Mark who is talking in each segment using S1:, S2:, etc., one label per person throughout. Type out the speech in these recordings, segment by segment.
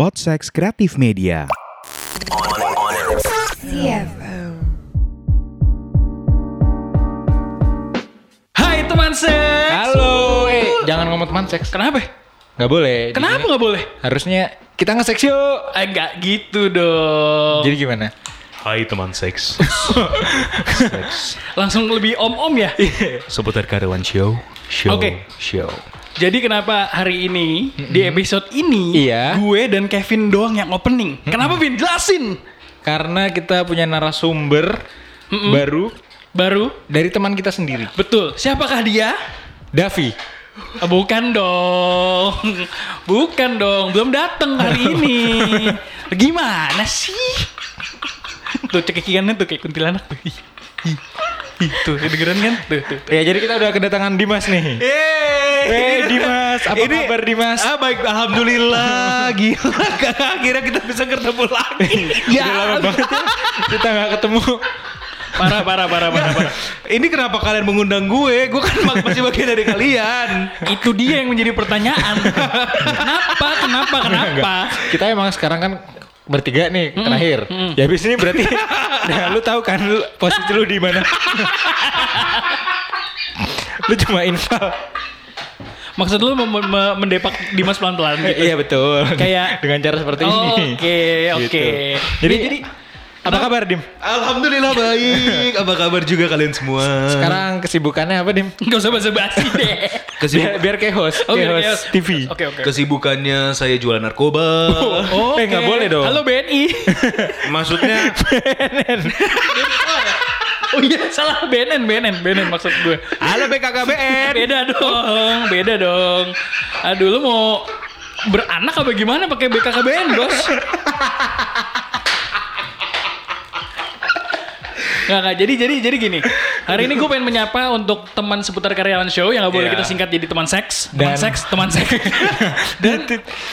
S1: Podseks Kreatif Media.
S2: Hai teman seks.
S3: Halo, eh jangan ngomong teman seks.
S2: Kenapa?
S3: Gak boleh. di
S2: Kenapa
S3: sini.
S2: nggak boleh?
S3: Harusnya kita nge-seks yuk.
S2: Eh, Nggak gitu dong.
S3: Jadi gimana?
S4: Hai teman seks, seks.
S2: Langsung lebih om-om ya.
S3: Iya.
S4: seputar karyawan show, show,
S2: Oke.
S4: show.
S2: Jadi kenapa hari ini di episode ini
S3: Iya.
S2: gue dan Kevin doang yang opening. Kenapa Vin? Jelasin.
S3: Karena kita punya narasumber baru
S2: Baru
S3: dari teman kita sendiri.
S2: betul. Siapakah dia?
S3: Davi.
S2: Eh, Bukan dong. Bukan dong. Belum datang hari ini. Gimana sih? Tuh cekikikannya tuh kayak kuntilanak. tuh. Ih, ih, ih. Tuh, kedengeran kan? Tuh, tuh.
S3: Ya jadi kita udah kedatangan Dimas nih.
S2: Yeay.
S3: Eh Dimas, apa kabar Dimas?
S2: Ah baik, alhamdulillah. Gila, akhirnya kita bisa ketemu lagi. ya.
S3: Udah lama banget ya, kita nggak ketemu.
S2: Parah, parah, parah, parah, parah.
S4: Ini kenapa kalian mengundang gue? Gue kan masih bagian dari kalian.
S2: Itu dia yang menjadi pertanyaan. kenapa, kenapa, kenapa?
S3: Kita emang sekarang kan bertiga nih terakhir. Ya habis ini berarti nah, lu tahu kan lu, posisi lu di mana? lu cuma infal.
S2: Maksud lu mem- mem- mendepak Dimas pelan-pelan gitu?
S3: Iya betul.
S2: Kayak-
S3: dengan cara seperti ini.
S2: Oke,
S3: Gitu.
S2: oke.
S3: Jadi,
S2: Ya,
S3: jadi apa kabar Dim?
S4: Alhamdulillah baik. Apa kabar juga kalian semua?
S3: Sekarang kesibukannya apa Dim?
S2: nggak usah basa-basi deh.
S3: Biar,
S4: Kesibuk-
S3: Oh, biar kayak host,
S2: Oke,
S3: kayak host
S2: oke.
S3: TV.
S2: Oke, oke.
S4: kesibukannya saya jualan narkoba.
S2: Oke.
S3: Eh, nggak boleh dong.
S2: Halo BNI.
S4: Maksudnya
S2: oh iya, salah BNN, BNN, BNN maksud gue.
S4: halo BKKBN.
S2: Beda dong, beda dong. Aduh, lu mau beranak apa gimana pakai BKKBN, Bos? Nggak, nggak. Jadi, jadi, jadi gini. Hari ini gue pengen menyapa untuk teman seputar karyawan show yang nggak boleh
S4: Iya.
S2: kita singkat jadi teman seks, teman
S3: Dan-
S2: seks, teman seks, dan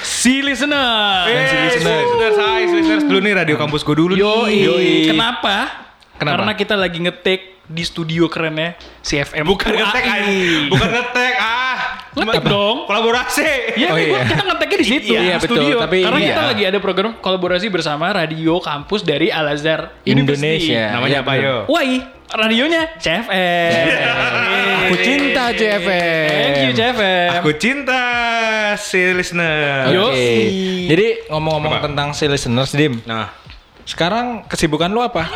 S2: si listener.
S4: Dan si listeners, listeners, hai, listeners dulu nih radio kampus gue dulu. nih.
S2: Yoi.
S3: Yoi.
S2: Kenapa?
S3: Kenapa?
S2: Karena kita lagi ngetik di studio kerennya CFM.
S4: Bukan ngetek,
S2: AI.
S4: ay. bukan ngetek, ah,
S2: Ngetek
S4: Cuma-
S2: dong.
S4: Kolaborasi.
S2: Iya,
S3: Oh,
S2: kan, gua-
S3: iya.
S2: kita ngeteknya di situ,
S3: Iya,
S2: di
S3: betul,
S2: studio.
S3: tapi
S2: Karena
S3: iya.
S2: kita lagi ada program kolaborasi bersama radio kampus dari Al Azhar
S3: Indonesia.
S4: Namanya
S3: Iya,
S4: apa
S3: bener.
S4: yo?
S2: Wah, radionya CFM.
S3: Aku cinta CFM.
S2: Thank you CFM.
S4: Aku cinta si listener.
S3: Oke.
S2: Yoi.
S3: Jadi
S4: Apa?
S3: ngomong-ngomong tentang si listeners Dim.
S4: Nah,
S3: Sekarang kesibukan lu apa?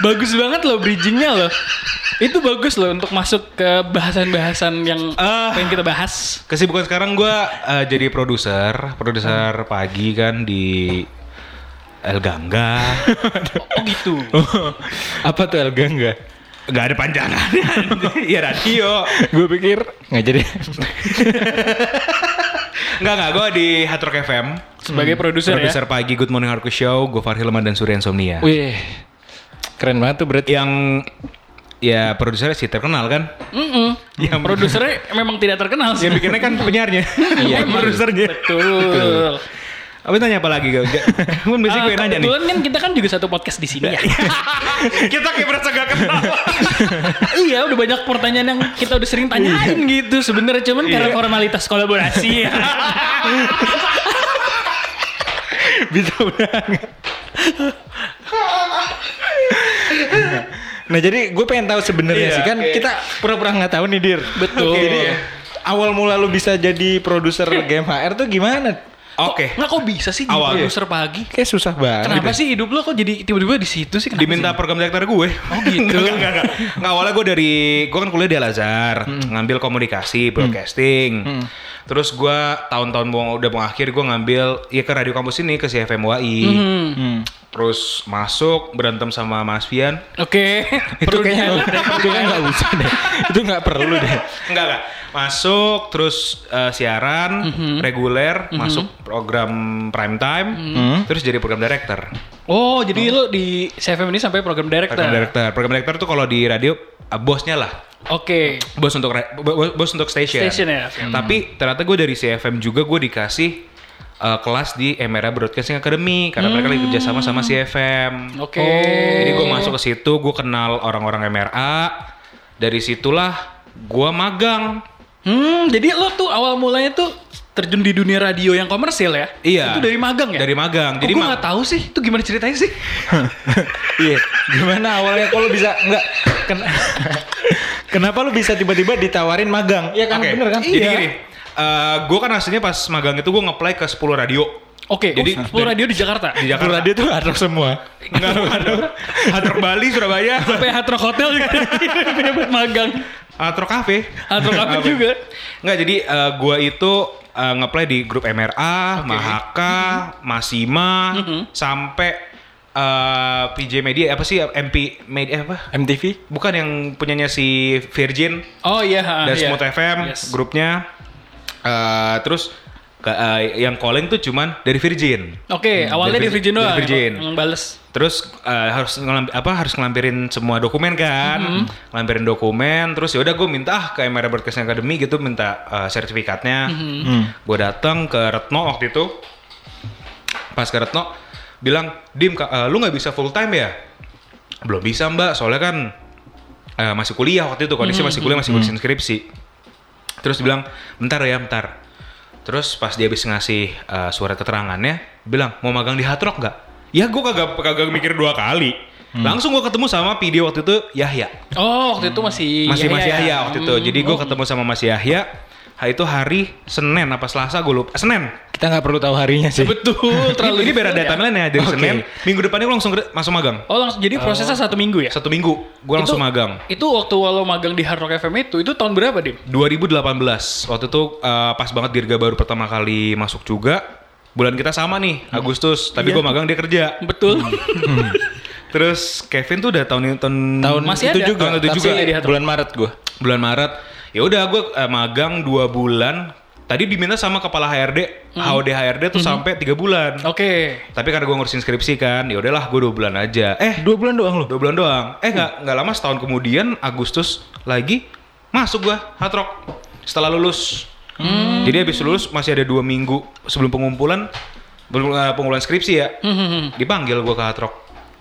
S2: Bagus banget loh bridgingnya loh. Itu bagus loh untuk masuk ke bahasan-bahasan yang
S4: Ah.
S2: pengen kita bahas.
S4: kesibukan sekarang gua eh, jadi produser, produser pagi kan di El Gangga.
S2: Oh gitu.
S3: apa tuh Elga enggak?
S4: Gak ada panjangannya. anjing. Iya radio.
S3: Gue pikir nggak jadi.
S4: Enggak enggak, gua di Hard Rock FM.
S2: Sebagai produser ya.
S4: Produser pagi Good Morning Hardcore Show, Gofar Hilman dan Surya Insomnia.
S3: Wih. Keren banget tuh berarti.
S4: Yang ya produsernya sih terkenal kan?
S2: Mm-mm.
S4: Yang-
S2: Produsernya memang tidak terkenal sih.
S4: Yang bikinnya kan penyiarnya. Iya, produsernya.
S2: Betul.
S4: Apa nanya apa lagi? Gak, gak. Mun biasanya
S2: Ah,
S4: gue nanya nih. Iya.
S2: kebetulan kan kita kan juga satu podcast di sini ya.
S4: Kita kayak berasa gak kenal.
S2: iya, udah banyak pertanyaan yang kita udah
S4: Iya.
S2: sering tanyain gitu sebenarnya cuman karena formalitas kolaborasi ya.
S3: bisa udah nah jadi gue pengen tahu
S4: Iya,
S3: sebenarnya sih kan
S4: oke.
S3: kita pura-pura nggak tahu nih dir
S2: Betul.
S3: Oke, jadi awal mula lu bisa jadi produser game HR tuh gimana
S4: Oke.
S2: Nggak kok bisa sih jadi
S4: Awal. Iya.
S2: produser pagi?
S3: kayak susah banget
S2: Kenapa sih hidup lo kok jadi tiba-tiba di situ sih? Kenapa
S4: Diminta program director gue.
S2: Oh, gitu.
S4: Enggak, enggak, enggak. Enggak, awalnya gue dari gue kan kuliah di Al Azhar,
S2: Hmm.
S4: ngambil komunikasi, broadcasting. Terus gue tahun-tahun mau udah mau akhir gue ngambil ya ke radio kampus ini ke CFM WAI.
S2: sih? Hmm.
S3: Hmm.
S4: Terus masuk berantem sama Mas Fian.
S2: Oke.
S3: itu
S2: Perlu
S3: kayaknya
S2: diingat.
S3: itu kan nggak usah deh itu nggak perlu deh
S4: Enggak, enggak. Masuk terus eh, siaran
S2: Hmm.
S4: reguler, masuk program prime time,
S2: Hmm.
S4: terus jadi program director.
S2: Oh, jadi lo di CFM ini sampai program director.
S4: Program director. Program director tuh kalau di radio eh, bosnya lah.
S2: Oke.
S4: Bos untuk ra- bo- bo- bos untuk station.
S2: Station ya.
S4: Hmm. Tapi ternyata gue dari CFM juga gue dikasih eh, kelas di Emera Broadcasting Academy karena mereka lagi kerjasama sama CFM.
S2: Hmm. Oke.
S4: Jadi gue masuk ke situ, gue kenal orang-orang MRA. Dari situlah gue magang.
S2: Hmm, jadi lo tuh awal mulanya tuh terjun di dunia radio yang komersil ya?
S4: Iya.
S2: Itu dari magang ya?
S4: Dari magang.
S2: Jadi
S4: Jadi
S2: gue
S4: ma-
S2: nggak tahu sih, itu gimana ceritanya sih?
S3: Iya, gimana awalnya kok lu bisa enggak ken- Kenapa lu bisa tiba-tiba ditawarin magang? Iya kan
S4: Oke,
S3: bener kan?
S4: Jadi
S3: Iya.
S4: gini, gue kan aslinya pas magang itu gue ngeplay ke 10 radio
S2: Oke,
S4: Jadi,
S2: oh, sepuluh
S4: dari-
S2: radio di Jakarta.
S4: di
S3: Jakarta.
S4: Jakarta.
S3: Radio tuh hadrok semua.
S4: Enggak, Hatrok Bali, Surabaya,
S2: Sampai Hard Rock Hotel juga dia buat magang.
S4: Hatrok Cafe.
S2: Hard Rock Cafe
S4: Apa?
S2: juga.
S4: Enggak, jadi gue itu eh, ngeplay di grup MRA, Mahaka,
S2: Mm-hmm.
S4: Masima, sampai eh, PJ Media, apa sih MP Media eh, apa?
S3: MTV.
S4: Bukan yang punyanya si Virgin.
S2: Oh iya. ha,
S4: dan
S2: iya.
S4: Smooth FM
S2: Yes.
S4: grupnya Eh, terus ke- eh, yang calling tuh cuman dari Virgin
S2: Oke,
S4: Hmm,
S2: awalnya
S4: dari
S2: di Virgin
S4: Virgin-
S2: doang.
S4: dari Virgin.
S2: yang bales.
S4: terus eh, harus ngelam- apa harus ngelampirin semua dokumen kan
S2: Mm-hmm.
S4: ngelampirin dokumen terus ya udah gue minta ah, ke MRA Broadcasting Academy gitu minta eh, sertifikatnya
S2: Mm-hmm. Mhm.
S3: Hmm.
S4: gue datang ke Retno waktu itu pas ke Retno bilang dim Kak, eh, lu nggak bisa full time ya belum bisa mbak soalnya kan eh, masih kuliah waktu itu kondisi masih kuliah
S2: Hmm,
S4: masih ngurusin skripsi terus bilang bentar ya bentar terus pas dia habis ngasih eh, surat keterangannya bilang mau magang di Hard Rock nggak ya gue kagak kagak mikir dua kali
S2: Hmm.
S4: langsung gue ketemu sama video waktu itu Yahya
S2: Oh, waktu itu masih
S4: Hmm. masih
S2: Yahya
S4: masih
S2: ya?
S4: Yahya waktu itu
S2: Hmm,
S4: jadi gue
S2: oh.
S4: ketemu sama Mas Yahya Ha, itu hari Senin apa Selasa gue lupa Senin
S3: Kita nggak perlu tahu harinya sih.
S2: betul terlalu
S4: ini, ini beda
S2: detail ya.
S4: timeline ya dari
S3: Oke.
S4: Senin minggu depannya gue langsung ker- masuk magang
S2: Oh, langsung jadi prosesnya satu minggu ya?
S4: satu minggu gue langsung
S2: Itu-
S4: magang
S2: Itu waktu lo magang di Hard Rock FM itu, itu tahun berapa, Dim?
S4: 2018 waktu itu eh, pas banget Dirga baru pertama kali masuk juga bulan kita sama nih
S2: Hmm.
S4: Agustus
S2: Iya.
S4: tapi gue magang dia kerja
S2: Betul.
S4: terus Kevin tuh udah tahun tahun,
S3: Tahun
S2: Masih
S3: itu
S2: ada.
S3: juga,
S4: Tahun itu
S3: tapi
S4: juga.
S2: Iya, di Hard Rock.
S3: bulan Maret gua.
S4: bulan Maret ya udah gue magang dua bulan tadi diminta sama kepala HRD
S2: Hmm.
S4: HOD HRD tuh sampai tiga bulan
S2: Oke.
S4: tapi karena gue ngurusin skripsi kan ya udahlah gue dua bulan aja eh
S3: Dua bulan doang lu.
S4: dua bulan doang eh nggak
S3: Hmm.
S4: nggak lama setahun kemudian Agustus lagi masuk gue hard rock setelah lulus
S3: Hmm.
S4: jadi habis lulus masih ada dua minggu sebelum pengumpulan belum eh, pengumpulan skripsi ya dipanggil gue ke hard rock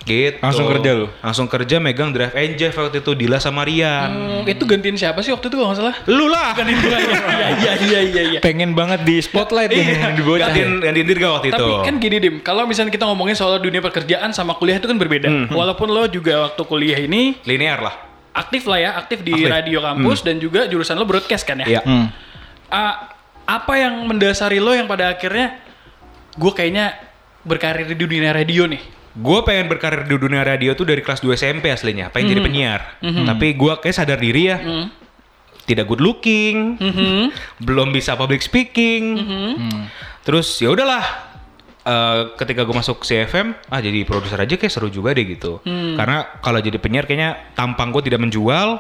S4: gitu
S3: Hmm, Langsung kerja lu?
S4: langsung kerja megang drive and Jive waktu itu Dila sama Rian
S2: Hmm, itu gantiin siapa sih waktu itu kalau nggak salah?
S4: lu lah
S3: Kan
S2: Iya, iya, iya, iya, iya.
S3: Pengen banget di spotlight
S4: Iya,
S3: yang di ya? bocah.
S4: gantiin, gantiin Dirga waktu itu.
S2: Tapi kan gini Dim, kalau misalnya kita ngomongin soal dunia pekerjaan sama kuliah itu kan berbeda.
S4: Hmm.
S2: Walaupun lo juga waktu kuliah ini
S4: linear lah.
S2: aktif lah ya, aktif di
S4: Aktif. Hmm.
S2: radio kampus dan juga jurusan lo broadcast kan ya.
S4: Iya.
S3: Hmm.
S2: Ah, apa yang mendasari lo yang pada akhirnya gue kayaknya berkarir di dunia radio nih?
S4: Gue pengen berkarir di dunia radio tuh dari kelas 2 SMP aslinya. Pengen jadi penyiar. Tapi gue kayak sadar diri ya. Tidak good looking.
S2: Mhm.
S4: Belum bisa public speaking.
S3: Hmm.
S4: Terus ya udahlah. Eh, ketika gue masuk CFM, ah jadi produser aja kayak seru juga deh gitu. Karena kalau jadi penyiar kayaknya tampang gue tidak menjual,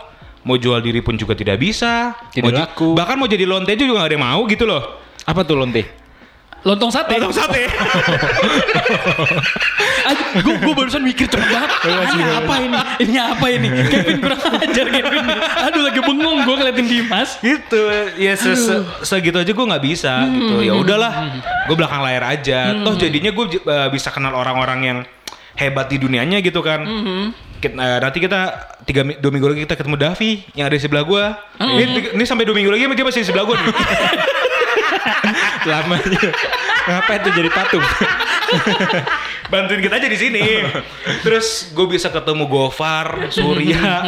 S4: mau jual diri pun juga tidak bisa,
S3: Tidak
S4: Mau ju-
S3: laku.
S4: bahkan mau jadi lonte aja juga gak ada yang mau gitu loh.
S3: Apa tuh lonte?
S2: Lontong sate.
S4: Lontong sate.
S2: gue gue barusan mikir cepet banget. Ini apa ini? Ini apa ini? Kevin kurang ajar Kevin. Aduh lagi bengong gue ngeliatin Dimas.
S4: gitu ya se se- segitu aja gue nggak bisa gitu ya udahlah gue belakang layar aja toh jadinya gue j- eh, bisa kenal orang-orang yang hebat di dunianya gitu kan Kit- eh, nanti kita tiga mi- dua minggu lagi kita ketemu Davi yang ada di sebelah gue ini, tiga- ini sampai dua minggu lagi dia masih di sebelah gue nih
S3: Lamanya. Ngapain tuh jadi patung?
S4: bantuin kita aja di sini terus gue bisa ketemu Gofar Surya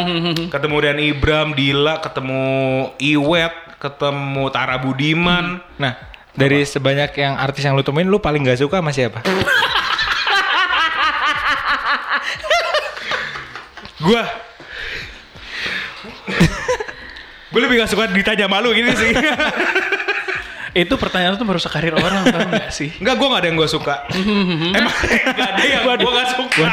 S4: ketemu Dan Ibram Dila ketemu Iwet ketemu Tara Budiman
S3: Nah, dari sebanyak yang artis yang lu temuin, lu paling gak suka sama siapa?
S4: Gua Gue lebih gak suka ditanya malu gini sih
S2: Itu pertanyaan tuh merusak karir orang tau gak sih?
S4: Enggak gue gak ada yang gue suka Emang gak ada yang gue gak suka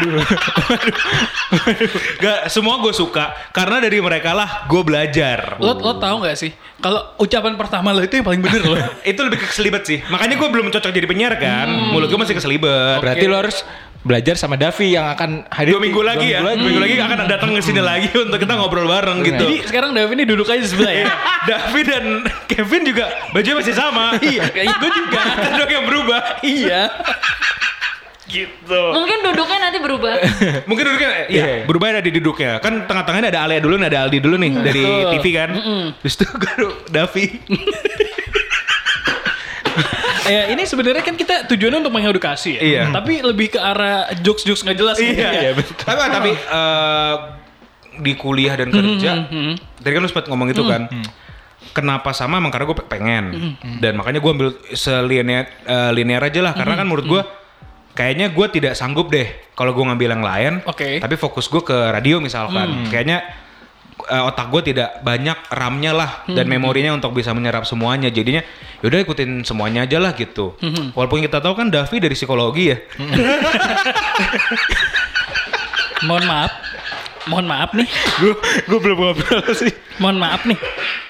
S4: Gak, semua gue suka Karena dari mereka lah gue belajar
S2: Lo lo tau gak sih? Kalau ucapan pertama lo itu yang paling bener lo.
S4: Itu lebih ke keselibet sih Makanya gue belum cocok jadi penyiar kan Mulut gue masih keselibet
S3: Berarti lu harus belajar sama Davi yang akan hadir
S4: Dua minggu lagi Hmm. ya Dua minggu lagi akan datang ke sini lagi Untuk kita ngobrol bareng gitu
S2: Jadi sekarang Davi ini duduk aja di sebelah ya.
S4: David dan Kevin juga bajunya masih sama. Iya,
S2: kayak
S4: gue juga. Ada doang yang berubah.
S2: iya.
S4: Gitu.
S5: Mungkin duduknya nanti berubah.
S4: Mungkin duduknya, eh, iya,
S3: Iya.
S4: berubah ada di duduknya. Kan tengah-tengahnya ada Alia dulu, nih, ada Aldi dulu nih dari
S2: Betul.
S4: TV kan. Terus itu gue Davi.
S2: ya ini sebenarnya kan kita tujuannya untuk mengedukasi ya.
S4: Iya.
S2: Tapi lebih ke arah jokes-jokes nggak jelas.
S4: Iya,
S2: gitu
S4: iya
S2: ya.
S4: betul. Tapi, tapi eh, di kuliah dan kerja, tadi kan lu sempat ngomong itu kan. Kenapa sama? Emang karena gue pengen. Dan makanya gue ambil selinear eh, linear aja lah. Karena kan menurut gue, kayaknya gue tidak sanggup deh kalau gue ngambil yang lain.
S2: Oke.
S4: Tapi fokus gue ke radio misalkan. Kayaknya eh, otak gue tidak banyak RAM-nya lah dan memorinya untuk bisa menyerap semuanya. Jadinya yaudah ikutin semuanya aja lah gitu. Walaupun kita tahu kan Davi dari psikologi ya.
S2: Mohon maaf. Mohon maaf nih.
S4: gue gue belum ngobrol sih
S2: Mohon maaf nih.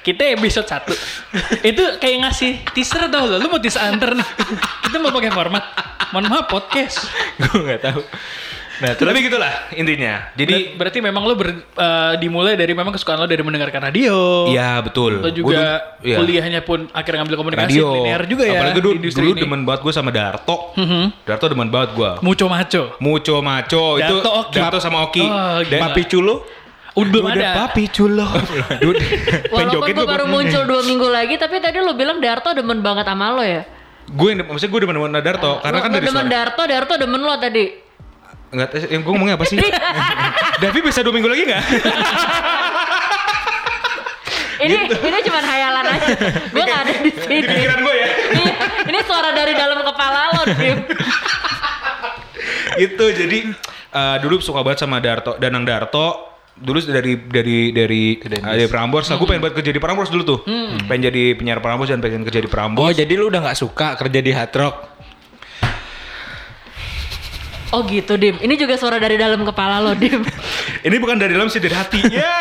S2: Kita episode 1. itu kayak ngasih teaser tau lo. Lu mau teaser antar nih. Kita mau pakai format. Mohon maaf podcast.
S3: gue nggak tahu nah terus
S4: tapi gitulah intinya jadi
S2: Ber- berarti memang lo ber- eh, dimulai dari memang kesukaan lo dari mendengarkan radio.
S4: iya betul Gua
S2: Lo juga
S4: dulu- iya.
S2: kuliahnya pun akhirnya ngambil komunikasi
S4: radio
S2: linear juga ya.
S4: apalagi dulu,
S2: di industri
S4: dulu
S2: ini. Hmm. Mhm.
S4: demen banget gue sama Darto Darto demen banget gue
S2: Muco maco.
S4: Muco Maco itu
S2: Darto, Oki.
S4: Darto sama Oki
S2: Oh,
S4: dan
S2: gila.
S4: Papi Culo
S2: Udah belum
S4: Udah
S2: ada.
S4: Papi Culo Dude, pengen
S5: Walaupun
S4: joget
S5: gue
S4: gua
S5: baru
S4: gua-
S5: muncul dua minggu lagi, tapi tadi lo bilang Darto demen banget sama lo ya.
S4: gue yang- maksudnya gue demen sama Darto karena
S5: Lo-
S4: kan
S5: lo
S4: dari
S5: demen
S4: suara
S5: Darto, Darto demen lo tadi.
S4: nggak tahu yang gue ngomongnya apa sih Davi bisa dua minggu lagi nggak
S5: Ini ini cuma khayalan aja. Gue gak ada di
S4: Gitu. di
S2: Iya.
S5: sini.
S4: pikiran gue ya
S5: ini, ini suara dari dalam kepala lo, Dim.
S4: itu Gitu, jadi eh, dulu suka banget sama Darto Danang Darto dulu dari dari dari eh, dari Prambors lah gue
S2: Hmm.
S4: pengen banget kerja di Prambors dulu tuh Hmm. pengen jadi penyiar Prambors dan pengen kerja di
S3: oh
S4: Prambors
S3: jadi lu udah nggak suka kerja di hard rock
S5: Oh gitu, Dim. Ini juga suara dari dalam kepala lo, Dim.
S4: ini bukan dari dalam sih dari hati ya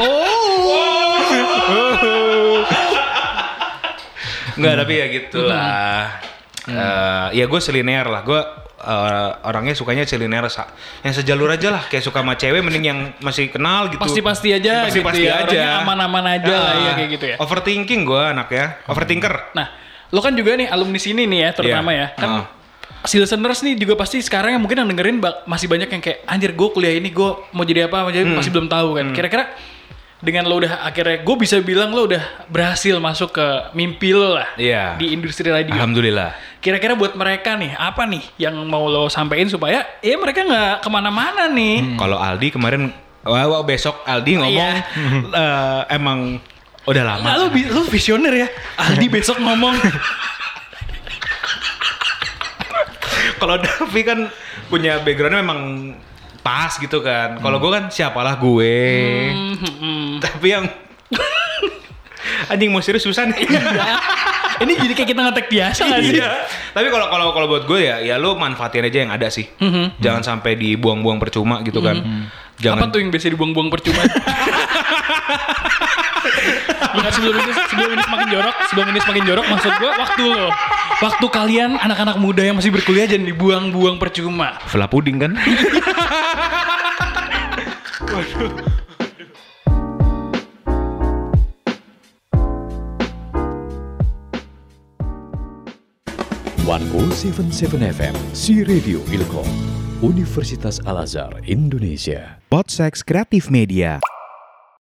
S2: Oh.
S4: Enggak tapi ya gitu
S2: Hmm.
S4: lah Eh, ya gue selinear lah gue eh, orangnya sukanya selinear sa- yang sejalur aja lah kayak suka sama cewek mending yang masih kenal gitu
S2: Pasti-pasti aja
S4: pasti pasti
S2: gitu
S4: aja
S2: ya.
S4: Ah.
S2: Orangnya aman-aman aja lah, iya, kayak gitu ya.
S4: overthinking gue anak ya overthinker
S2: Nah, lo kan juga nih alumni sini nih ya, terutama
S4: Iya.
S2: ya. Kan
S4: Heeh.
S2: si listeners nih juga pasti sekarang yang mungkin yang dengerin bak- masih banyak yang kayak anjir gue kuliah ini gue mau jadi apa, mau jadi
S4: Hmm.
S2: masih belum tahu kan. Kira-kira dengan lo udah akhirnya gue bisa bilang lo udah berhasil masuk ke mimpi lo lah
S4: Iya.
S2: di industri radio.
S4: alhamdulillah
S2: Kira-kira buat mereka nih apa nih yang mau lo sampein supaya ya mereka nggak kemana-mana nih.
S4: kalau Aldi kemarin wah, wah, besok
S2: Iya.
S4: Aldi ngomong eh, emang udah lama
S2: Nah, lo, bi- lo visioner ya. Aldi besok ngomong. Nah.
S4: kalau Davi kan punya backgroundnya memang pas gitu kan kalau
S2: Hmm.
S4: gue kan siapalah gue tapi yang anjing mau serius susah nih
S2: Iya, Ini jadi kayak kita ngetek biasa nggak sih?
S4: Iya. Tapi kalau kalau kalau buat gue ya, ya lu manfaatin aja yang ada sih.
S2: Hmm,
S4: Jangan sampai dibuang-buang percuma gitu kan. Jangan.
S2: Apa tuh yang biasa dibuang-buang percuma? Bukan sebelum ini, sebelum ini semakin jorok, sebelum ini semakin jorok maksud gua waktu lo. Waktu kalian anak-anak muda yang masih berkuliah jangan dibuang-buang percuma.
S4: Vela puding kan?
S6: FM, Si Radio Ilkom, Universitas Al Azhar Indonesia.
S1: Podsex Kreatif Media.